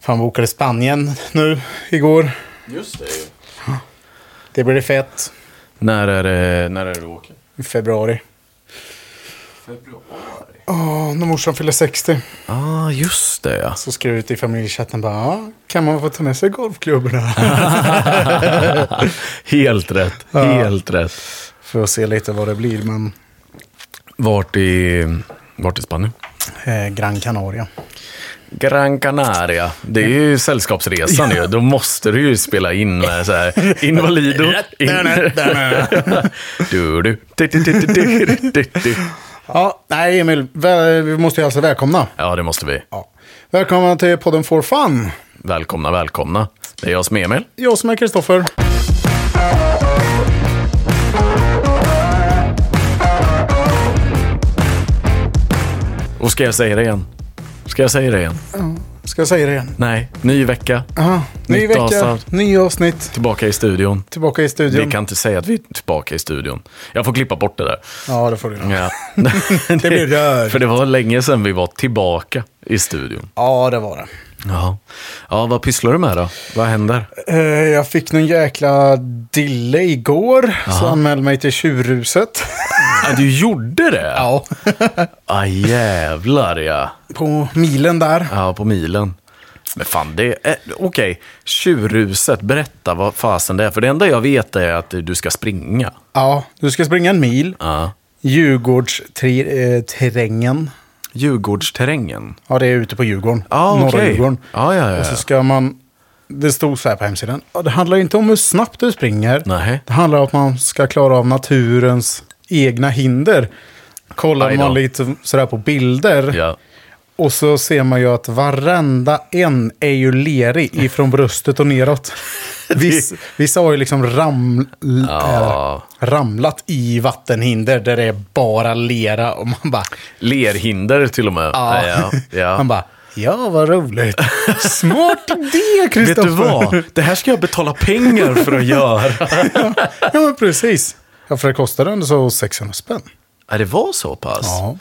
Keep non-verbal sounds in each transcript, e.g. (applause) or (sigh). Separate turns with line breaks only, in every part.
Fan, bokade Spanien nu igår.
Just det ju.
Det blir fett.
När är det, när är det du åker?
I februari.
Februari.
Åh, när morsan fyller 60
Ah, just det ja.
så skrev jag ut i familjechatten bara, "Ah, kan man få ta med sig golfklubborna? (laughs)
Helt rätt. Helt rätt.
För att se lite vad det blir, men
Vart i, vart i Spanien?
eh, Gran Canaria.
Gran Canaria. Det är ju sällskapsresan ju. Då måste du ju spela in med så
(laughs)
här Invalido. In. (laughs) Du, du. Du, du, du, du, du, du, du.
Ja, nej Emil, väl, vi måste ju alltså välkomna.
Ja, det måste vi.
Ja. Välkomna till podden For Fun.
Välkomna, välkomna. Det är jag som är Emil.
Jag som är Kristoffer.
Och ska jag säga det igen? Ska jag säga det igen?
Ska jag säga det igen?
Nej, ny vecka.
Ja, ny
Nytt
vecka,
avsnitt.
ny avsnitt,
Tillbaka i studion.
tillbaka i
Vi
studion.
kan inte säga att vi är tillbaka i studion. Jag får klippa bort det där.
Ja, det får du göra.
(laughs) Ja.
Det blir rör.
För det var länge sedan vi var tillbaka i studion.
Ja, det var det.
Ja. ja, vad pysslar du med då? Vad händer?
Eh, Jag fick någon jäkla dille igår, så anmälde mig till tjurhuset.
Ja, du gjorde det?
Ja.
Ah, jävlar ja.
(laughs) På milen där.
Ja, på milen. Men fan, det är... eh, Okej, tjurhuset, berätta vad fasen det är. För det enda jag vet är att du ska springa.
Ja, du ska springa en mil.
Ja.
Djurgårdsterrängen.
Djurgårdsterrängen.
Ja, det är ute på Djurgården.
Ja,
norra
Ah, okej.
Djurgården.
Ja, ja, ja.
Och så ska man... Det stod så här på hemsidan. Ja, Det handlar inte om hur snabbt du springer.
Nej.
Det handlar om att man ska klara av naturens egna hinder. Kollar
Aj då.
man lite sådär på bilder.
Ja.
Och så ser man ju att varenda en är ju lerig ifrån bröstet och
(laughs)
neråt. Viss, vissa har ju liksom ram, l-
Ja.
eh, ramlat i vattenhinder där det är bara lera och man bara...
Lerhinder till och med.
Ja.
Ja, ja.
Man bara, ja vad
(laughs)
roligt. Smart idé
Vet du
Kristoffer.
vad? Det här ska jag betala pengar för att göra.
(laughs) Ja men precis. Ja för det kostade ändå så 600 spänn.
Ja, det var så pass? Ja.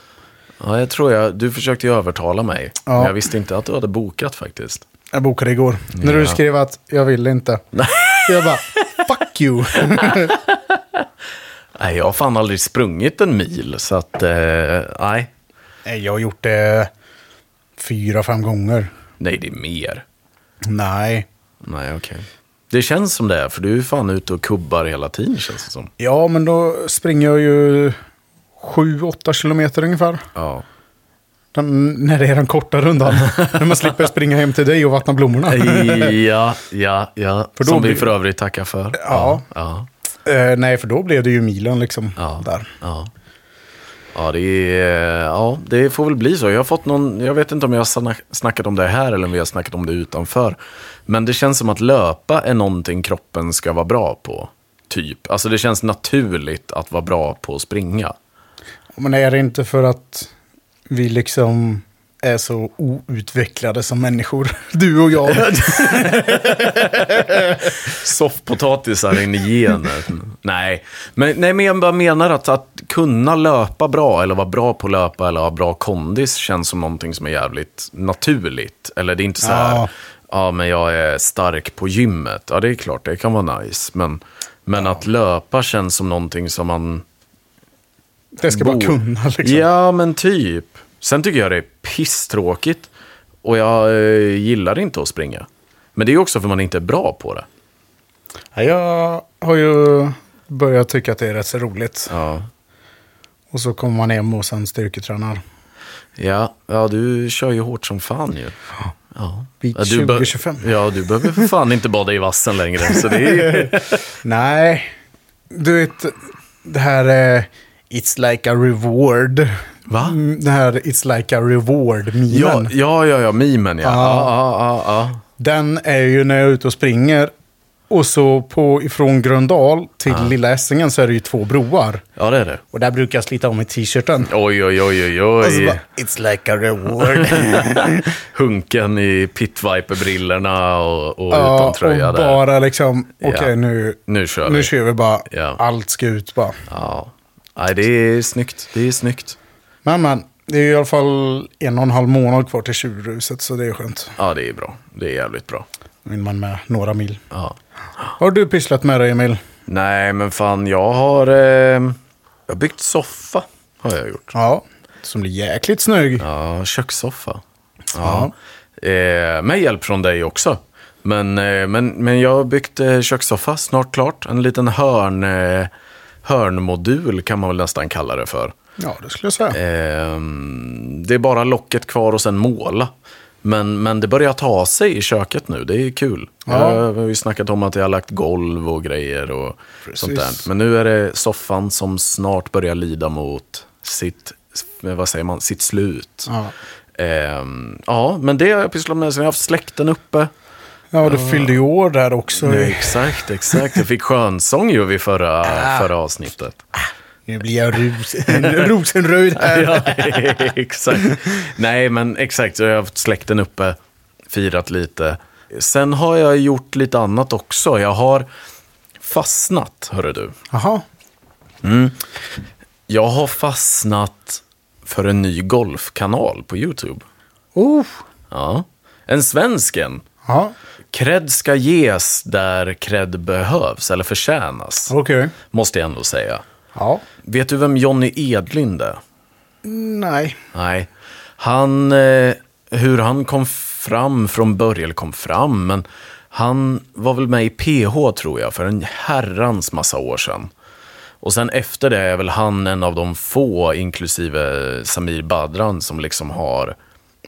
Ja.
jag tror jag, du försökte ju övertala mig.
Ja.
Men jag visste inte att du hade bokat faktiskt.
Jag bokade igår. När du skrev att jag vill inte. Jag bara, fuck you.
Nej, jag har fan aldrig sprungit en mil, så att... Eh, nej.
Nej, Eh, jag har gjort det fyra, fem gånger.
Nej, det är mer.
Nej.
Nej, okej. Det känns som det, är, för du är ju fan ute och kubbar hela tiden, känns det som.
Ja, men då springer jag ju 7-8 kilometer ungefär.
Ja.
Den, när det är den korta rundan. när man slipper springa hem till dig och vattna blommorna.
(laughs) Ja, ja, ja.
För då
som vi
blir-
för övrigt tackar för.
Ja.
Ja,
Eh, nej, för då blev det ju milen liksom.
ja.
Där.
Ja. Ja det, är, ja, det får väl bli så. Jag har fått någon, jag vet inte om jag har snack- snackat om det här eller om vi har snackat om det utanför. Men det känns som att löpa är någonting kroppen ska vara bra på. Typ. Alltså det känns naturligt att vara bra på att springa.
Men är det inte för att vi liksom är så outvecklade som människor? (laughs) Du och jag.
(laughs) Soffpotatisar in i genen. nej. Men, nej, men jag bara menar att, att kunna löpa bra, eller vara bra på att löpa, eller ha bra kondis, känns som någonting som är jävligt naturligt. Eller det är inte så här,
Ja.
ja, men jag är stark på gymmet. Ja, det är klart, det kan vara nice. Men, men att löpa känns som någonting som man...
Det ska bara
bor-
kunna liksom.
Ja, men typ. Sen tycker jag det är pisstråkigt. Och jag eh, gillar inte att springa. Men det är ju också för man inte är bra på det.
Ja, Jag har ju börjat tycka att det är rätt så roligt.
Ja.
Och så kommer man hem och sen styrketränar.
Ja, ja du kör ju hårt som fan ju. Ja.
Beat
ja, du
2025.
ja, du behöver för fan inte bada i vassen längre. Så det
(laughs)
är...
Nej, du vet det här eh, It's like a reward.
Va?
Mm, Det här It's like a reward
ja,
milen
ja, ja, ja, mimen ja.
Ja.
Ja, ja, ja, ja.
Den är ju när jag är ute och springer. Och så på, ifrån Gröndal till Lilla Essingen så är det ju två broar.
ja, det är det.
Och där brukar jag slita av mig t-shirten.
Oj, oj, oj, oj,
Och så Alltså, bara,
oj.
It's like a
(laughs)
reward.
Hunken i pitviper-brillorna och, och
ja,
utan
och
tröja där.
bara liksom, okej
Ja.
nu,
Nu kör
nu
vi.
kör vi bara.
Ja.
Allt ska ut bara.
Ja. Nej, det är snyggt. Det är snyggt.
Men, men. Det är ju i alla fall en och en halv månad kvar till tjurruset, så det är skönt.
Ja, det är bra. Det är jävligt bra.
Då vill man med några mil.
Ja.
Har du pysslat med det, Emil?
Nej, men fan, jag har, eh, jag har byggt soffa. Har jag gjort.
Ja. Som blir jäkligt snygg.
Ja, kökssoffa. Ja. Eh, med hjälp från dig också. Men, eh, men, men jag har byggt eh, kökssoffa, snart klart. En liten hörn, eh, hörnmodul kan man väl nästan kalla det för.
Ja, det skulle jag
Eh.
säga.
Ehm, det är bara locket kvar och sen måla. Men, men det börjar ta sig i köket nu, det är kul.
Ja.
Jag har ju snackat om att jag har lagt golv och grejer och
Precis.
sånt där. Men nu är det soffan som snart börjar lida mot sitt, vad säger man, sitt slut.
Ja.
Ehm, ja, men det har jag pysslat med. Sen har jag haft släkten uppe.
Ja, du fyllde ju år där också.
Nej, exakt, exakt. Jag fick skönsång ju vid förra, förra avsnittet. (laughs)
Nu blir jag rus (laughs) rosenröd här.
Ja, exakt. Nej, men exakt. Så jag har haft släkten uppe, firat lite. Sen har jag gjort lite annat också. Jag har fastnat, hörru du.
Jaha.
Jag har fastnat för en ny golfkanal på YouTube.
Oh.
Ja. En svensk en.
Ja,
Cred ska ges där cred behövs, eller förtjänas.
okej.
Måste jag ändå säga.
Ja.
Vet du vem Johnny Edlind är?
Nej.
Nej. Han, eh, hur han kom fram från början, eller kom fram, men han var väl med i PH tror jag, för en herrans massa år sedan. Och sen efter det är väl han en av de få, inklusive Samir Badran, som liksom har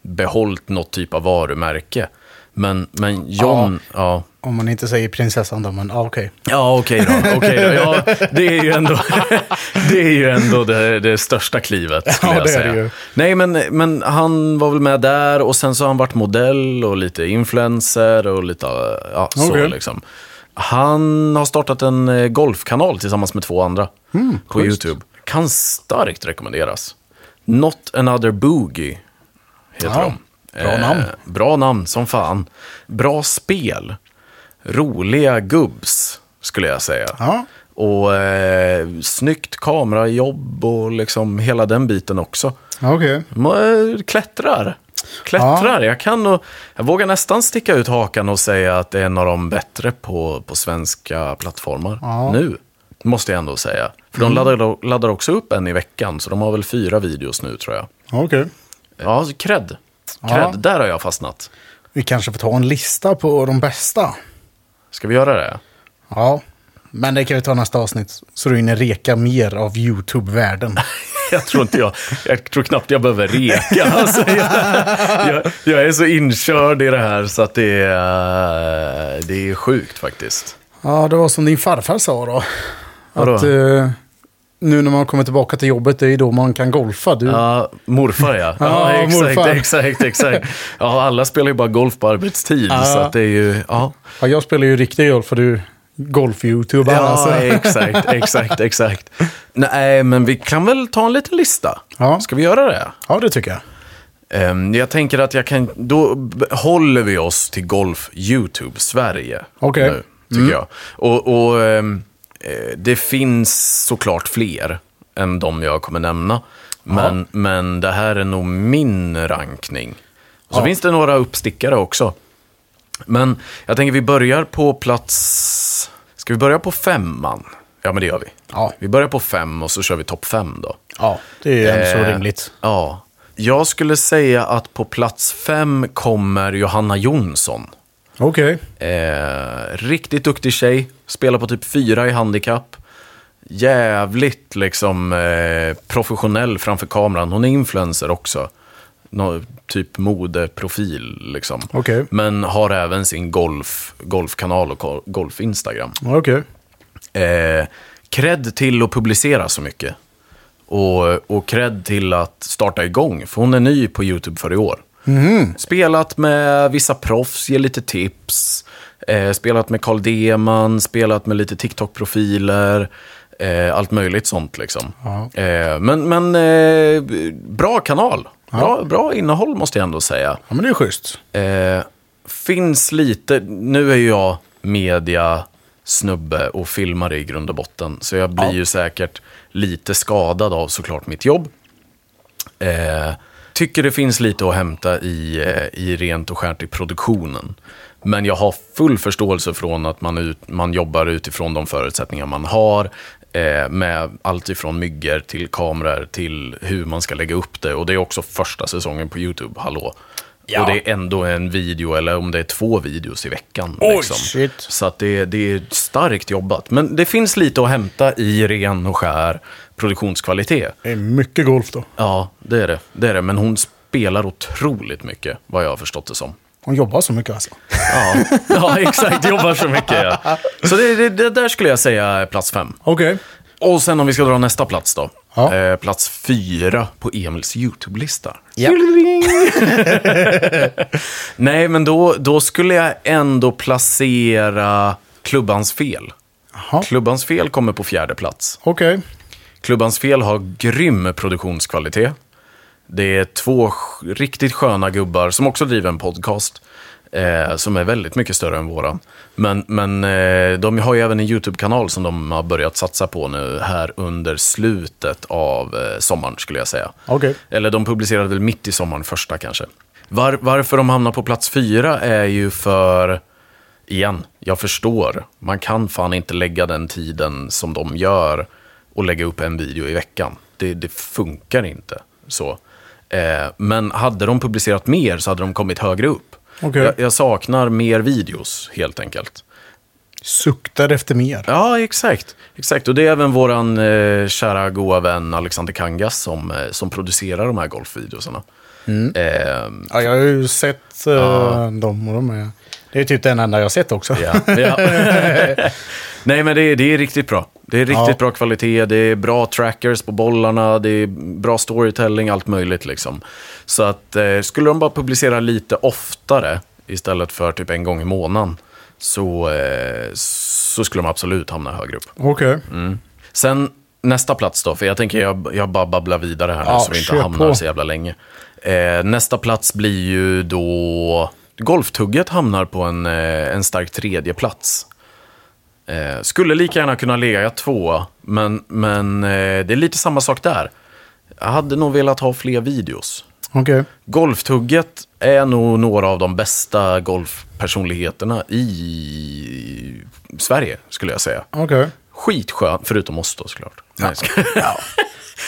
behållit något typ av varumärke. Men, men John, ja.
Om man inte säger prinsessan då, men ja, okej.
Ja, okej
(laughs)
då. Okej då. Ja, det är ju ändå, (laughs) det, är ju ändå det, det största klivet, skulle
Ja,
jag
det är
säga.
det ju.
Nej, men, men han var väl med där och sen så har han varit modell och lite influencer och lite ja, så
Okej.
liksom. Han har startat en eh, golfkanal tillsammans med två andra
Hmm,
på YouTube. Kan starkt rekommenderas. Not another boogie heter
Ja,
de. Eh,
bra namn.
Bra namn som fan. Bra spel. Roliga gubbs, skulle jag säga.
Ja.
Och eh, snyggt kamerajobb och liksom hela den biten också.
Ja, okej.
De eh, klättrar. Klättrar. Jag kan och, Jag vågar nästan sticka ut hakan och säga att det är en av de bättre på, på svenska plattformar
Ja. Mm.
nu. Måste jag ändå säga. För de laddar, laddar också upp en i veckan, så de har väl fyra videos nu tror jag.
Ja, okej.
Ja, cred. Cred,
Ja.
där har jag fastnat.
Vi kanske får ta en lista på de bästa.
Ska vi göra det?
Ja. Men det kan vi ta nästa avsnitt. Så du hinner reka mer av YouTube-världen.
(laughs) Jag tror inte jag, jag tror knappt jag behöver reka. Alltså, jag, jag, jag är så inkörd i det här så att det är, eh, det är sjukt faktiskt.
Ja, det var som din farfar sa då.
Vadå?
Att eh, nu när man kommer tillbaka till jobbet, det är ju då man kan golfa. Du,
Ja, morfar ja.
Ja,
exakt,
morfar.
exakt, exakt. Ja, alla spelar ju bara golf på arbetstid
Ja.
så att det är ju, ja.
ja, jag spelar ju riktig golf för du golf-youtuber. (laughs)
Ja,
alltså.
exakt, exakt, exakt. Nej, men vi kan väl ta en liten lista?
Ja.
Ska vi göra det?
ja, det tycker jag.
Ehm, jag tänker att jag kan, då b- håller vi oss till Golf YouTube Sverige.
Okej. Mm.
nu, Tycker jag. Och, och ehm, eh, det finns såklart fler än de jag kommer nämna. Men, men det här är nog min rankning. Och så finns det några uppstickare också. Men jag tänker vi börjar på plats... Ska vi börja på femman? Ja, men det gör vi.
Ja.
Vi börjar på fem och så kör vi topp fem då.
Ja, det är ju ändå så
Eh,
rimligt.
Ja. Jag skulle säga att på plats fem kommer Johanna Jonsson.
Okej.
Eh, riktigt duktig tjej, spelar på typ fyra i handikapp. Jävligt liksom eh, professionell framför kameran. Hon är influencer också. Nå, typ modeprofil liksom.
Okej.
Men har även sin golf, golfkanal och ko- golf-instagram.
Okej.
Eh, cred till att publicera så mycket. Och, och cred till att starta igång, för hon är ny på YouTube för i år. Spelat med vissa proffs, ger lite tips. Eh, spelat med Carl Deman, spelat med lite TikTok-profiler. Eh, allt möjligt sånt liksom.
Ja.
Eh, men men eh, bra kanal. Bra, bra innehåll måste jag ändå säga.
Ja, men det är schysst.
Eh, finns lite, nu är ju jag media snubbe och filmare i grund och botten, så jag blir ju säkert lite skadad av såklart mitt jobb. Eh, tycker det finns lite att hämta i, eh, i rent och skärt i produktionen. Men jag har full förståelse från att man, ut, man jobbar utifrån de förutsättningar man har. Eh, med allt ifrån myggor till kameror till hur man ska lägga upp det. Och det är också första säsongen på YouTube, hallå.
Ja.
Och det är ändå en video, eller om det är två videos i veckan.
Oj,
liksom.
shit.
Så att det, det är starkt jobbat. Men det finns lite att hämta i ren och skär produktionskvalitet.
Det är mycket golf då.
Ja, det är det. det, är det. Men hon spelar otroligt mycket, vad jag har förstått det som.
Hon jobbar så mycket alltså.
Ja, ja exakt. Jobbar så mycket. Ja. Så det, det, det där skulle jag säga är plats fem.
Okej.
Och sen om vi ska dra nästa plats då.
Ja.
Eh, plats fyra på Emils YouTube-lista.
Ja.
Nej, men då, då skulle jag ändå placera Klubbans fel.
Jaha.
Klubbans fel kommer på fjärde plats.
Okej.
Klubbans fel har grym produktionskvalitet. Det är två sk- riktigt sköna gubbar som också driver en podcast. Eh, som är väldigt mycket större än våran. Men, men eh, de har ju även en YouTube-kanal som de har börjat satsa på nu här under slutet av eh, sommaren skulle jag säga.
Okej.
Eller de publicerade väl mitt i sommaren första kanske. Var, varför de hamnar på plats fyra är ju för, igen, jag förstår. Man kan fan inte lägga den tiden som de gör och lägga upp en video i veckan. Det, det funkar inte så. Eh, men hade de publicerat mer så hade de kommit högre upp.
Okej.
Jag, jag saknar mer videos helt enkelt.
Suktar efter mer.
Ja, exakt. exakt. Och det är även vår eh, kära goa vän Alexander Kangas som, eh, som producerar de här golfvideorna. Eh,
Ja, jag har ju sett eh, dem och de är... Det är typ den enda jag har sett också.
ja, ja. (laughs) Nej, men det är, det är riktigt bra. Det är riktigt
Ja.
bra kvalitet, det är bra trackers på bollarna, det är bra storytelling, allt möjligt. liksom. Så att eh, skulle de bara publicera lite oftare istället för typ en gång i månaden så, eh, så skulle de absolut hamna högre upp.
(laughs) Okej.
Mm. Sen nästa plats då, för jag tänker jag, jag bara babblar vidare här nu
Ja,
så vi inte
kör
hamnar
på.
så jävla länge. Eh, nästa plats blir ju då... Golftugget hamnar på en, eh, en stark tredje plats. Eh, skulle lika gärna kunna ligga två, men, men eh, det är lite samma sak där. Jag hade nog velat ha fler videos.
Okej.
Golftugget är nog några av de bästa golfpersonligheterna i Sverige, skulle jag säga.
Okej.
Skitskön, förutom oss då såklart. Nej, jag
(laughs)
skojar.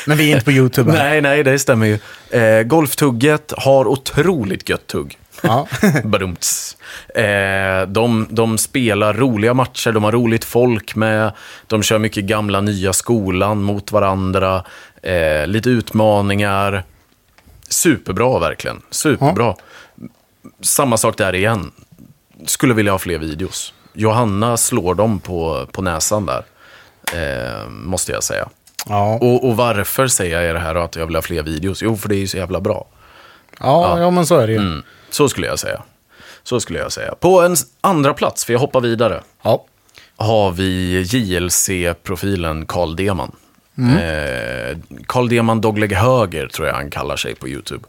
Men vi är inte på YouTube. här.
nej, nej, det stämmer ju. Eh, golftugget har otroligt gött tugg.
Ja.
(laughs) Badumts. Eh, de, de spelar roliga matcher, de har roligt folk med, de kör mycket gamla nya skolan mot varandra, eh, lite utmaningar. Superbra verkligen, superbra. Samma sak där igen, skulle vilja ha fler videos. Johanna slår dem på, på näsan där, eh, måste jag säga.
Ja.
Och, och varför säger jag det här och att jag vill ha fler videos? Jo, för det är ju så jävla bra.
Ja, ja, men så är det ju.
Mm, så skulle jag säga. Så skulle jag säga. På en s- andra plats, för jag hoppar vidare,
Ja.
har vi JLC-profilen Carl Deman. Eh, Carl Deman Dogleg Höger tror jag han kallar sig på YouTube.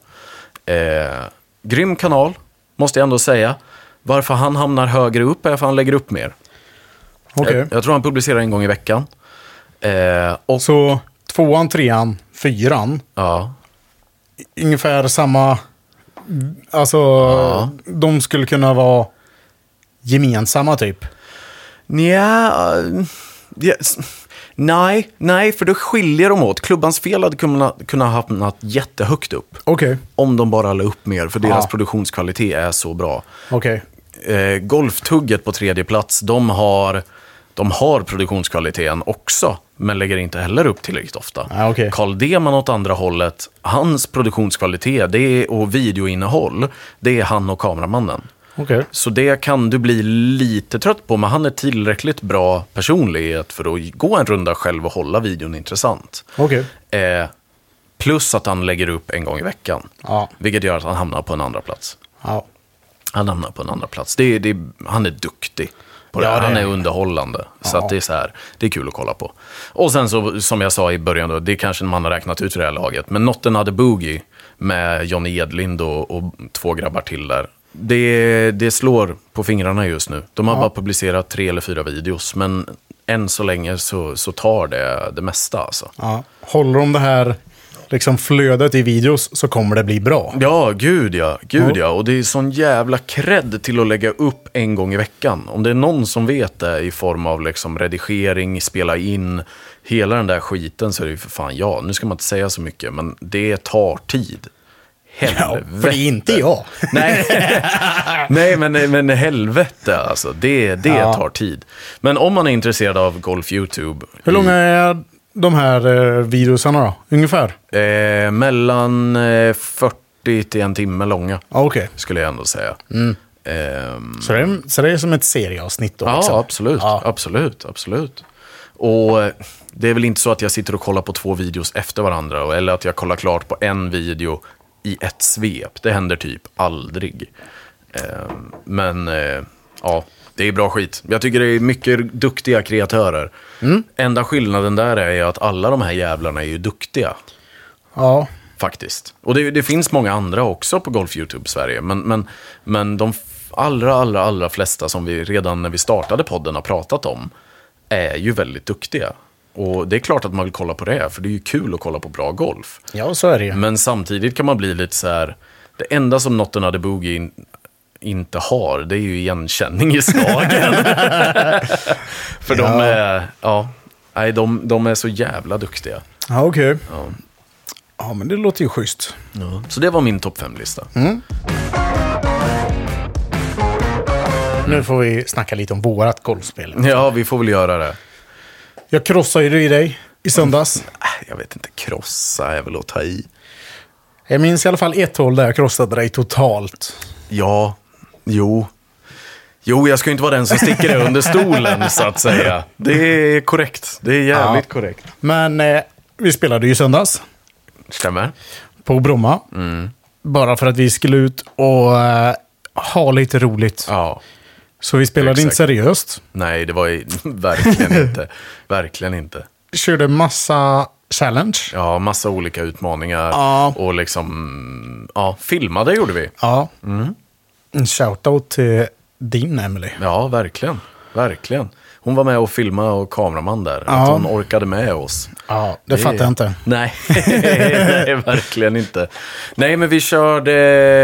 Eh, grym kanal, måste jag ändå säga. Varför han hamnar högre upp är för han lägger upp mer.
Okej.
Jag, jag tror han publicerar en gång i veckan. Eh, och,
Så tvåan, trean, fyran.
ja,
Ungefär samma... Alltså, de skulle kunna vara gemensamma typ.
Nja, eh, ja, s- nej, nej, för då skiljer de åt. Klubbans fel hade kunnat, kunnat hamnat jättehögt upp.
Okej.
Om de bara la upp mer, för deras
Ja.
produktionskvalitet är så bra.
Okej.
Eh, golftugget på tredje plats, de har, de har produktionskvaliteten också, men lägger inte heller upp tillräckligt ofta.
Ah, okej.
Carl Deman åt andra hållet, hans produktionskvalitet det är, och videoinnehåll, det är han och kameramannen.
Okej.
Så det kan du bli lite trött på, men han är tillräckligt bra personlighet för att gå en runda själv och hålla videon intressant.
Okej.
Eh, plus att han lägger upp en gång i veckan,
Ja.
vilket gör att han hamnar på en andra plats.
Ja.
Han hamnar på en andra plats. Det, är- det, är- han är duktig. På det.
Ja,
här.
det
han
är
är underhållande. Så att det är så här, det är kul att kolla på. Och sen så, som jag sa i början, då, det är kanske man har räknat ut för det här laget, men Not Another Boogie med Johnny Edlind och, och två grabbar till där. Det, det slår på fingrarna just nu. De har bara publicerat tre eller fyra videos, men än så länge så, så tar det det mesta. Alltså.
ja. Håller de det här liksom flödet i videos så kommer det bli bra.
Ja, gud ja. Gud ja. Och det är sån jävla cred till att lägga upp en gång i veckan. Om det är någon som vet det i form av liksom redigering, spela in, hela den där skiten så är det ju för fan jag. Nu ska man inte säga så mycket, men det tar tid. Helvete.
Ja, för det är inte jag.
Nej, (laughs) Nej men, men helvete alltså. Det, det
Ja.
tar tid. Men om man är intresserad av Golf YouTube.
Hur långa är de här eh, videosarna då? Ungefär?
Eh, mellan eh, 40 till en timme långa,
Ja, okej.
skulle jag ändå säga. Ehm,
Så, det är- så det är som ett serieavsnitt då?
Ja,
liksom.
absolut.
Ja.
Absolut, absolut. Och eh, det är väl inte så att jag sitter och kollar på två videos efter varandra och- eller att jag kollar klart på en video i ett svep. Det händer typ aldrig. Eh, Men eh, ja, det är bra skit. Jag tycker det är mycket duktiga kreatörer. Enda skillnaden där är ju att alla de här jävlarna är ju duktiga.
Ja.
Faktiskt. Och det, det finns många andra också på Golf YouTube Sverige. Men, men, men de f- allra, allra, allra flesta som vi redan när vi startade podden har pratat om är ju väldigt duktiga. Och det är klart att man vill kolla på det, för det är ju kul att kolla på bra golf.
ja, så är det ju.
Men samtidigt kan man bli lite så här, det enda som Not Another Boogie in, inte har, det är ju igenkänning i slagen. för de
Ja.
är, ja, nej, de, de är så jävla duktiga.
Ja, okej. Ja, men det låter ju schysst.
Så det var min topp fem-lista.
Nu får vi snacka lite om vårat golfspel.
Ja, vi får väl göra det.
Jag krossade ju dig i söndags.
Äh, Jag vet inte, krossa är väl att ta i.
Jag minns i alla fall ett hål där jag krossade dig totalt.
Ja, jo. Jo, jag ska ju inte vara den som sticker det under stolen, så att säga. Det är korrekt. Det är jävligt
Ja.
korrekt.
Men eh, vi spelade ju i söndags
Stämmer.
på Bromma.
Mm.
Bara för att vi skulle ut och eh, ha lite roligt.
Ja.
Så vi spelade
Exakt.
inte seriöst.
Nej, det var ju (laughs) verkligen inte. Verkligen inte.
Körde massa challenge.
Ja, massa olika utmaningar.
Ja.
Och liksom, ja, filmade gjorde vi.
Ja.
Mm.
En shoutout till din Emily.
Ja, verkligen. Verkligen. Hon var med och filmade och kameraman där. Att
Ja.
hon orkade med oss.
Ja, det, fattar jag inte.
(laughs) Nej, nej, verkligen inte. Nej, men vi körde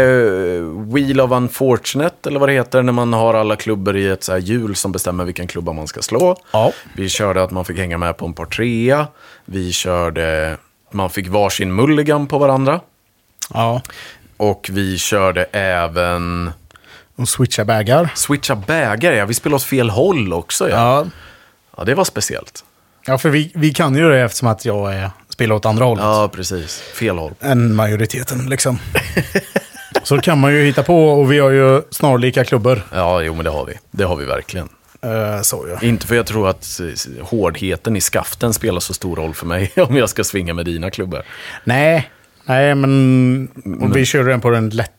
eh, Wheel of Unfortunate, eller vad det heter, när man har alla klubbor i ett så här hjul som bestämmer vilken klubba man ska slå.
Ja.
Vi körde att man fick hänga med på en par trea. Vi körde, man fick varsin mulligan på varandra.
Ja.
Och vi körde även
Och switcha bagar.
switcha bägare. Ja, vi spelade åt fel håll också. Ja,
Ja.
ja det var speciellt.
Ja, för vi, vi kan ju det eftersom att jag är, spelar åt andra hållet.
Ja, precis. Fel håll.
Än majoriteten liksom. (laughs) Så kan man ju hitta på och vi har ju snarlika klubbor.
Ja, jo, men det har vi. Det har vi verkligen.
Eh, så ju.
Inte för jag tror att eh, hårdheten i skaften spelar så stor roll för mig (laughs) om jag ska svinga med dina klubbor.
Nej, Mm. nej men och vi körde den på den lätt...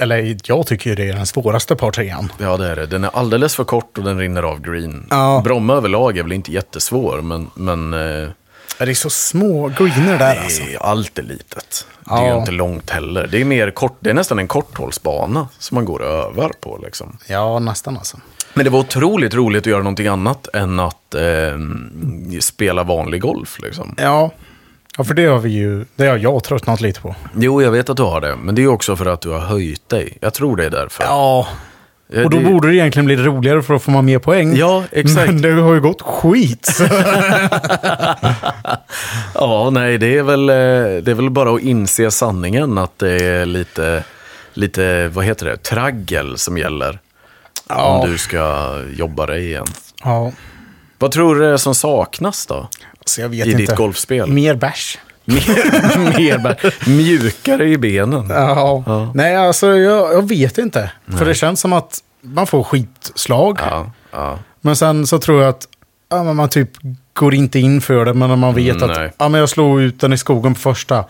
Eller jag tycker ju det är den svåraste par trean.
Ja, det är det. Den är alldeles för kort och den rinner av green.
Ja.
Bromma överlag är väl inte jättesvår, men, men eh,
Det är så små greener där alltså.
det är allt är litet. Det är ju
Ja.
inte långt heller. Det är, mer kort, det är nästan en korthållsbana som man går och övar på. Liksom.
Ja, nästan alltså.
Men det var otroligt roligt att göra någonting annat än att eh, spela vanlig golf. Liksom.
Ja. ja, för det har vi ju... Det har jag tröttnat lite på.
Jo, jag vet att du har det, men det är också för att du har höjt dig. Jag tror det är därför.
Ja.
Eh,
Och då
det-
borde det egentligen bli roligare för att få man mer poäng.
Ja, exakt.
Men det har ju gått (laughs) skit.
Ja, nej, det är väl, eh, det är väl bara att inse sanningen att det är lite, lite vad heter det, traggel som gäller. Om du ska jobba dig igen.
ja.
Vad tror du det är som saknas då?
Så jag vet
I
inte.
ditt golfspel?
Mer bärs.
Mer, (laughs) mer, bär- mjukare i benen.
Ja. Nej, alltså jag, jag vet inte. För det känns som att man får skitslag.
Ja, ja.
Men sen så tror jag att ja, men man typ går inte in för det. Men när man vet
Mm, nej. Mm.
att ja, men jag slog ut den i skogen på första.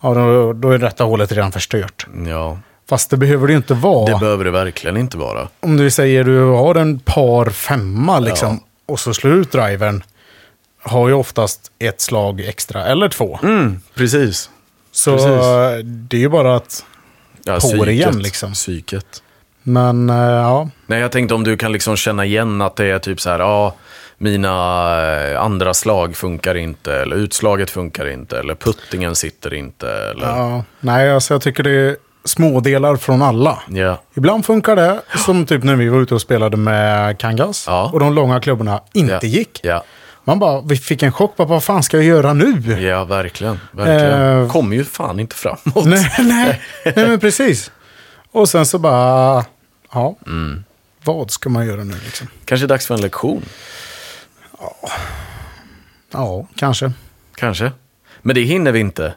Ja, då, då är detta hålet redan förstört.
ja.
Fast det behöver det ju inte vara.
Det behöver det verkligen inte vara.
Om du säger du har en par femma liksom, och så slår du ut drivern. Har ju oftast ett slag extra, eller två.
Mm, precis.
så
precis.
det är ju bara att...
Ja,
På
psyket.
det igen, liksom.
Psyket.
Men eh, ja,
Nej, jag tänkte om du kan liksom känna igen att det är typ så här, ja, mina eh, andra slag funkar inte, eller utslaget funkar inte, eller puttingen sitter inte. Eller, ja.
Ja, nej, alltså jag tycker det är smådelar från alla. Ibland funkar det, som typ när vi var ute och spelade med Kangas.
Ja.
Och de långa klubborna inte
ja,
gick.
Ja,
Man bara, vi fick en chock. Bara, vad fan ska jag göra nu?
ja verkligen. verkligen.
Eh,
Kom ju fan inte framåt.
Nej, nej, nej, men precis. Och sen så bara, ja.
Mm.
Vad ska man göra nu liksom?
Kanske dags för en lektion.
Ja, kanske.
Kanske. Men det hinner vi inte.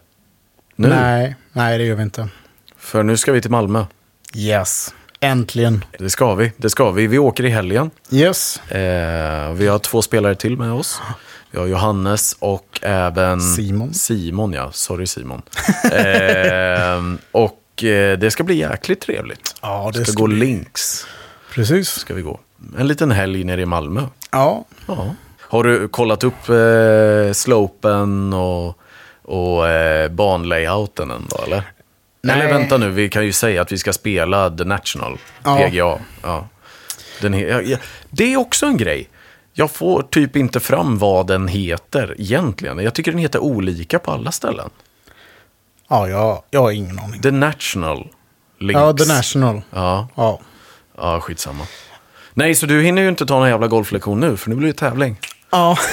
Nu.
Nej, nej, det gör vi inte.
För nu ska vi till Malmö.
Yes. Äntligen.
Det ska vi. Det ska vi. Vi åker i helgen.
Yes.
Eh, vi har två spelare till med oss. Vi har Johannes och även
Simon.
Simon, ja. Sorry Simon. (laughs) eh, och eh, det ska bli jäkligt trevligt.
Ja,
Vi
det
ska,
ska
gå
bli-
links.
Precis.
Ska vi gå. En liten helg nere i Malmö.
Ja.
Ja. Har du kollat upp eh, slopen och, och eh, banlayouten än då, eller?
Nej.
Eller vänta nu, vi kan ju säga att vi ska spela The National,
Ja.
PGA. Ja. Den he- ja, ja. Det är också en grej. Jag får typ inte fram vad den heter egentligen. Jag tycker den heter olika på alla ställen.
Ja, jag, jag har ingen aning.
The National Links.
Ja, The National.
Ja,
Ja.
ja skitsamma. Nej, så du hinner ju inte ta någon jävla golflektion nu, för nu blir det tävling.
Ja. (laughs)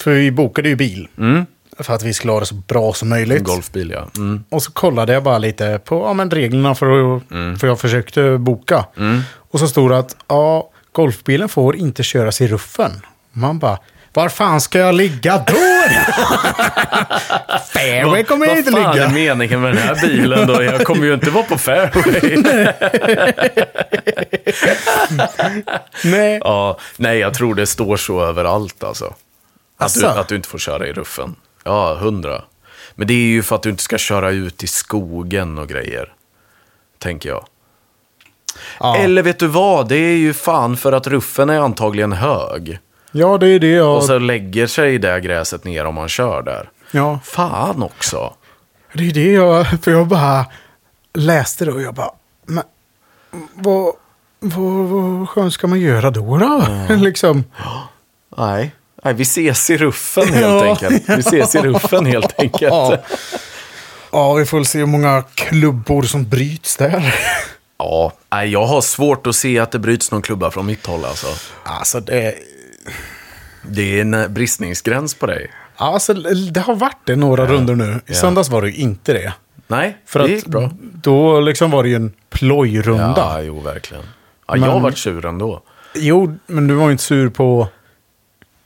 För vi bokade ju bil.
Mm.
För att vi skulle ha det så bra som möjligt.
Golfbil, ja. Mm.
Och så kollade jag bara lite på ja, men reglerna för, att,
Mm.
för jag försökte boka. Och så stod det att ja, golfbilen får inte köras i ruffen. Man bara, var fan ska jag ligga då? (laughs) Fairway kommer jag inte
Vad fan
ligga.
är meningen med den här bilen då? Jag kommer ju inte vara
(laughs)
på fairway.
Nej.
ja, nej, jag tror det står så överallt alltså. Att
Asså?
du, att du inte får köra i ruffen. Ja, hundra. Men det är ju för att du inte ska köra ut i skogen och grejer. Tänker jag.
Ja.
Eller vet du vad? Det är ju fan för att ruffen är antagligen hög.
ja, det är det jag...
Och så lägger sig det gräset ner om man kör där.
Ja,
Fan också.
det är det jag... För jag bara läste det och jag bara, men vad, vad, vad skönt ska man göra då? då? (laughs) liksom.
Nej. Nej, vi ses i ruffen helt
Ja.
enkelt. Vi ses i
(laughs)
ruffen helt enkelt.
Ja, vi får väl se hur många klubbor som bryts där.
Ja, nej, jag har svårt att se att det bryts någon klubba från mitt håll (laughs) alltså.
Alltså det,
Det är en eh, bristningsgräns på dig.
alltså, det har varit det några runder nu. I söndags var det ju inte det.
Nej,
För
det
att
gick bra.
då liksom var det ju en plojrunda.
Ja, jo, verkligen. Ja, Jag
Men-
har varit sur ändå.
Jo, men du var ju inte sur på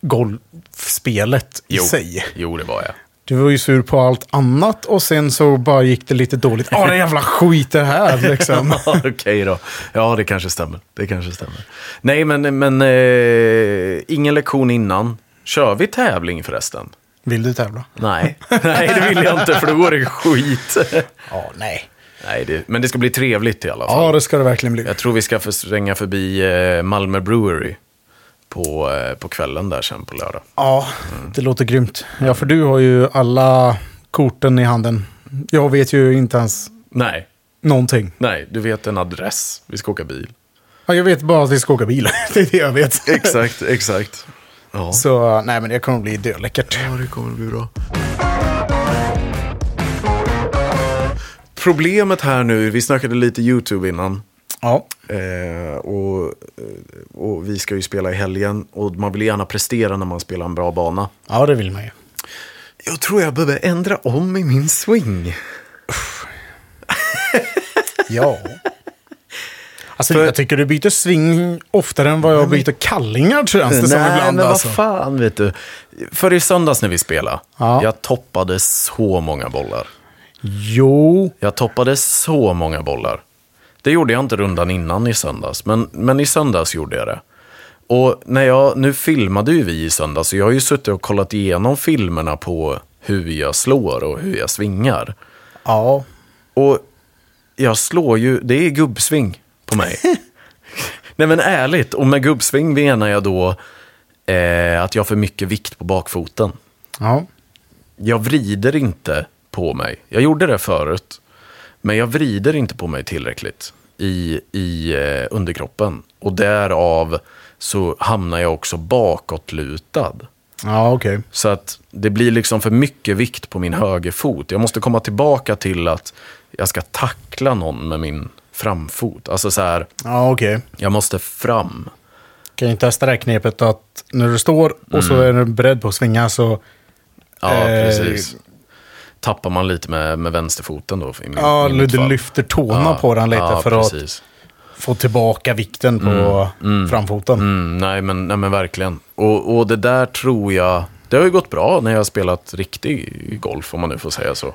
golfspelet i
Jo,
sig.
jo det var jag.
Du var ju sur på allt annat och sen så bara gick det lite dåligt. Ja, det är jävla skit det här (laughs) liksom.
Ja, (laughs) Okej då. Ja, det kanske stämmer. Det kanske stämmer. Nej, men, men eh, ingen lektion innan. Kör vi tävling förresten?
Vill du tävla? (laughs)
Nej. Nej, det vill jag inte, för då går det skit. (laughs)
Ja, nej.
Nej, det, men det ska bli trevligt i alla fall.
Ja, det ska det verkligen bli.
Jag tror vi ska för- svänga förbi eh, Malmö Brewery på, eh, på kvällen där sen på lördag.
Ja, Mm. det låter grymt. Ja, för du har ju alla korten i handen. Jag vet ju inte ens
Nej,
någonting.
nej, du vet en adress. Vi ska åka bil.
Ja, jag vet bara att vi ska åka bil. (laughs) det är det jag vet.
Exakt, exakt. Ja.
Så nej, men det kommer bli dödläckert.
det kommer bli bra. Problemet här nu, vi snackade lite YouTube innan.
Ja.
Eh, och, eh, och vi ska ju spela i helgen och man vill gärna prestera när man spelar en bra bana.
ja, det vill man ju.
Jag tror jag behöver ändra om i min swing.
Ja. Alltså, jag tycker du byter sving oftare än vad jag byter kallingar, känns det som
Nej,
ibland.
men vad
alltså.
fan vet du. För i söndags när vi spelade,
Ja.
jag toppade så många bollar.
Jo,
Jag toppade så många bollar. Det gjorde jag inte rundan innan i söndags, men, men i söndags gjorde jag det. Och när jag, nu filmade ju vi i söndags, så jag har ju suttit och kollat igenom filmerna på hur jag slår och hur jag svingar.
ja.
Och jag slår ju, det är gubbsving på mig. Nej men ärligt, och med gubbsving menar jag då eh, att jag har för mycket vikt på bakfoten.
ja.
Jag vrider inte på mig. Jag gjorde det förut, men jag vrider inte på mig tillräckligt. i, i eh, underkroppen. Och därav så hamnar jag också bakåtlutad.
Ja, okej.
Så att det blir liksom för mycket vikt på min högerfot. Jag måste komma tillbaka till att jag ska tackla någon med min framfot. Alltså så här,
Ja, okej.
jag måste fram.
Kan jag testa det här knepet att när du står och
Mm.
så är du beredd på att svinga så...
Ja,
Eh,
precis. Tappar man lite med, med vänsterfoten då? I min,
Ja,
i mitt
du
fall.
lyfter tårna på den lite
ja,
för att
precis.
få tillbaka vikten på framfoten.
Mm, nej, men, nej, men verkligen. Och, och det där tror jag... Det har ju gått bra när jag har spelat riktig golf, om man nu får säga så.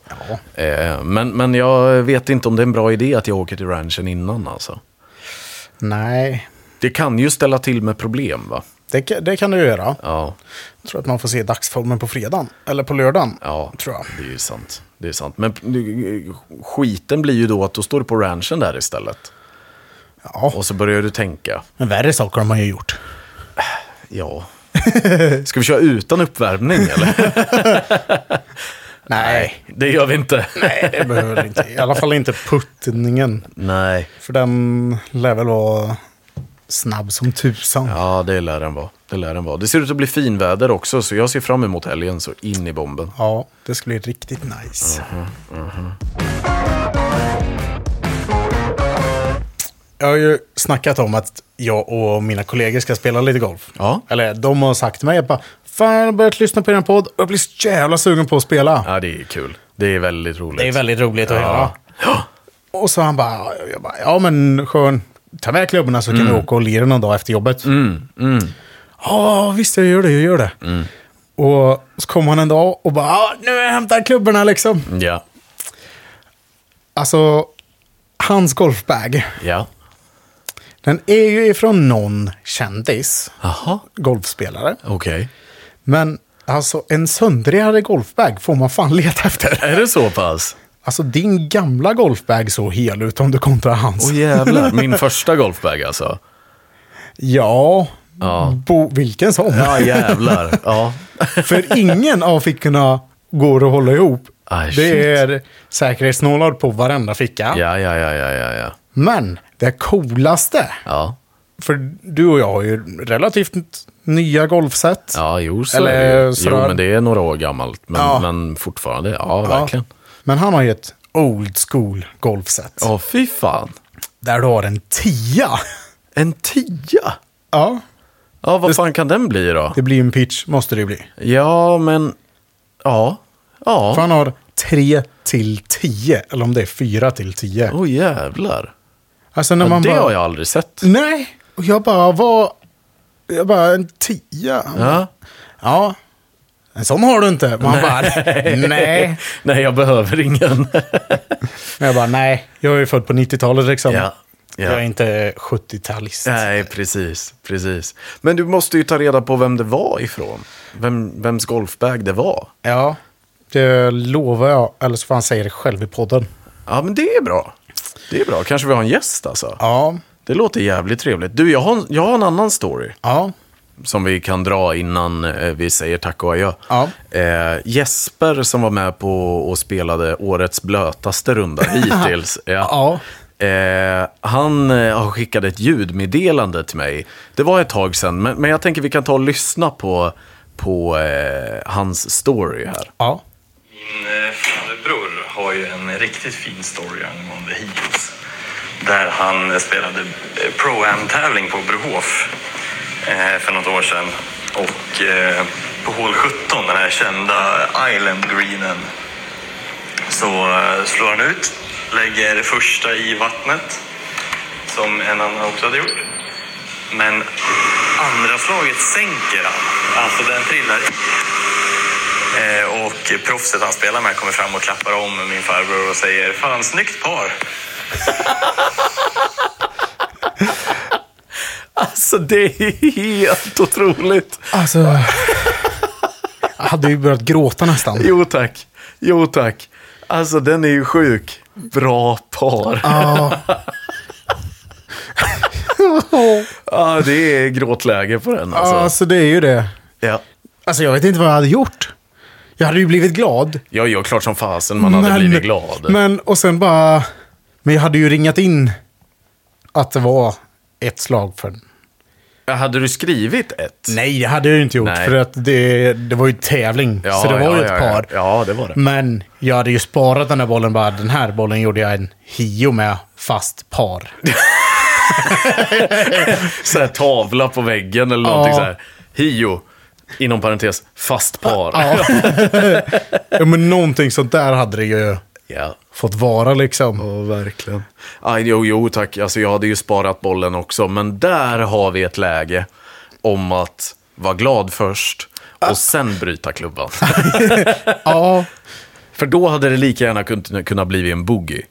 Eh, men, men jag vet inte om det är en bra idé att jag åker till ranchen innan. Alltså.
Nej,
Det kan ju ställa till med problem, va?
det, ka- det kan du göra.
Ja,
Jag tror att man får se dagsformen på fredagen. Eller på lördagen.
ja
Tror jag.
det är ju sant. Det är sant. Men eh, skiten blir ju då att då står du på ranchen där istället.
Ja,
Och så börjar du tänka.
men värre saker har man ju gjort.
Ja. (laughs) Ska vi köra utan
(laughs)
uppvärmning eller?
Nej,
Det gör vi inte.
nej det behöver du inte. I alla fall inte puttningen.
(laughs) Nej.
För den lär väl vara snabb som tusan.
Ja, det lär den vara. Det lär den vara. Det ser ut att bli finväder också, så jag ser fram emot helgen så in i bomben.
Ja, det skulle bli riktigt nice. Jag har ju snackat om att jag och mina kollegor ska spela lite golf.
Ja.
Eller de har sagt till mig att bara, fan jag har börjat lyssna på er podd och jag blir så jävla sugen på att spela.
Ja, det är kul. Det är väldigt roligt.
Det är väldigt roligt att
Ja.
höra. Och så han bara, jag bara, ja men skön, ta med klubborna så kan vi åka och lira någon dag efter jobbet. mm. Ja, visst jag gör det, jag gör det. Och så kom han en dag och bara, "Ja, nu har jag hämtat klubborna liksom.
(gasps) Ja.
Alltså, hans golfbag,
Ja.
den är ju ifrån någon kändis,
Jaha.
golfspelare.
Okej.
Men alltså en söndrigare golfbag får man fan leta efter.
Är det så pass?
Alltså din gamla golfbag såg hel ut om du kontrar hans.
Åh jävlar. Min första golfbag alltså.
Ja,
Ja.
Bo, vilken som.
Ja, jävlar. Ja.
(laughs) För ingen av fickorna går att hålla ihop.
Ah, shit.
det är säkerhetsnålar på varenda ficka.
Ja, ja, ja, ja, ja, ja.
Men det coolaste,
Ja,
för du och jag har ju relativt nya golfset.
ja jo, så
Eller, eh,
är det ju. Jo,
sådär.
men det är några år gammalt. Men,
Ja.
men fortfarande. Ja,
Ja.
verkligen.
Men han har ju ett old school golfset.
Ja, fy fan.
Där du har en tia.
En tia?
Ja,
Ja, vad fan kan den bli då?
det blir ju en pitch, måste det ju bli.
Ja, men... Ja.
För
Ja.
han har 3 till 10, eller om det är 4 till 10.
Åh jävlar.
Alltså när
Ja,
man
det
bara...
har jag aldrig sett.
Nej, och jag bara var... Jag bara, en tia?
Ja.
Ja. En sån har du inte. Man bara, nej.
Nej, jag behöver ingen.
Men jag bara, nej. Jag är ju född på 90-talet liksom.
Ja, ja.
Jag är inte 70-talist.
Nej, precis. precis. Men du måste ju ta reda på vem det var ifrån. Vem, vems golfbag det var.
Ja, det lovar jag. Eller så får han säga det själv i podden.
Ja, men det är bra. Det är bra. Kanske vi har en gäst alltså.
Ja.
Det låter jävligt trevligt. Du, jag har, jag har en annan story.
Ja.
som vi kan dra innan eh, vi säger tack och adjö.
Ja.
Eh, Jesper som var med på och spelade årets blötaste (laughs) runda hittills.
Ja.
Eh, han eh, har skickat ett ljudmeddelande till mig. Det var ett tag sedan, men, men jag tänker vi kan ta och lyssna på, på eh, hans story här.
Ja.
Min eh, farbror har ju en riktigt fin story angående Hios. Där han eh, spelade eh, Pro Am-tävling på Brohof eh, för något år sedan. Och eh, på hål 17, den här kända Island Greenen, så eh, slår han ut, lägger första i vattnet, som en annan också hade gjort. Men andra slaget sänker han, alltså den trillar i. Eh, Och proffset han spelar med kommer fram och klappar om min farbror och säger Fan, snyggt par!
Alltså det är helt otroligt.
Alltså... Jag hade ju börjat gråta nästan.
Jo tack, jo tack. Alltså den är ju sjuk. Bra par.
Ja,
Ja, det är gråtläge på den alltså.
alltså det är ju det.
Ja.
Alltså jag vet inte vad jag hade gjort. Jag hade ju blivit glad.
Ja, ja, klart som fasen man hade blivit glad.
Men, och sen bara... Men jag hade ju ringat in att det var ett slag för
Ja, Hade du skrivit ett?
Nej, det hade jag ju inte gjort.
Nej.
För att det, det var ju tävling.
Ja,
så det var
ja,
ju ett
ja,
par.
ja. Ja, det var det.
Men jag hade ju sparat den här bollen. Bara, den här bollen gjorde jag en hio med, fast
(laughs)
par.
Så här tavla på väggen eller någonting så här. Hio, inom parentes, fast par.
Ja. ja, men någonting sånt där hade det ju
Ja.
fått vara liksom.
verkligen. Aj, jo, jo, tack. Alltså, jag hade ju sparat bollen också, men där har vi ett läge om att vara glad först och sen bryta klubban.
Ja,
För då hade det lika gärna kunnat kunna bli en boogie.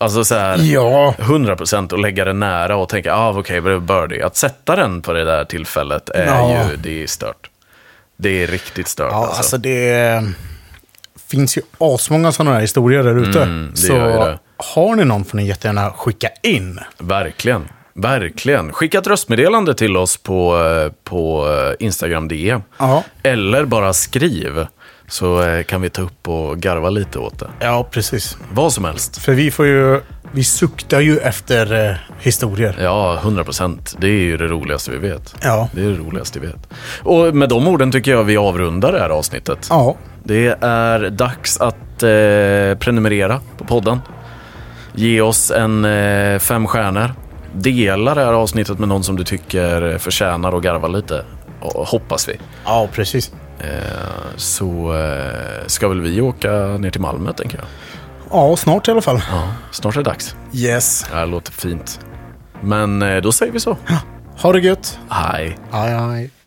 Alltså så här,
Ja.
100% och lägga den nära och tänka, ah, okej, okay, birdie. Att sätta den på det där tillfället är
Ja.
ju, det är stört. Det är riktigt stört
ja
alltså.
alltså det finns ju asmånga sådana här historier där ute. så
gör ju Mm, det.
har ni någon får ni jättegärna skicka in.
Verkligen. Verkligen. Skicka ett röstmeddelande till oss på, eh, på eh, Instagram DM.
Ja.
Eller bara skriv. Så eh, kan vi ta upp och garva lite åt det.
Ja, precis.
Vad som helst.
För vi får ju, vi suktar ju efter eh, historier.
Ja, 100 procent. Det är ju det roligaste vi vet.
Ja.
Det är det roligaste vi vet. Och med de orden tycker jag vi avrundar det här avsnittet.
Ja,
Det är dags att eh, prenumerera på podden. Ge oss en eh, fem stjärnor. Dela det här avsnittet med någon som du tycker förtjänar att garva lite. Och, hoppas vi.
ja precis.
Eh, så eh, ska väl vi åka ner till Malmö tänker jag.
Ja, snart i alla fall.
Ja, snart är det dags.
Yes.
Det här låter fint. Men eh, då säger vi så.
Ha det gött.
Hej.
Aj, aj.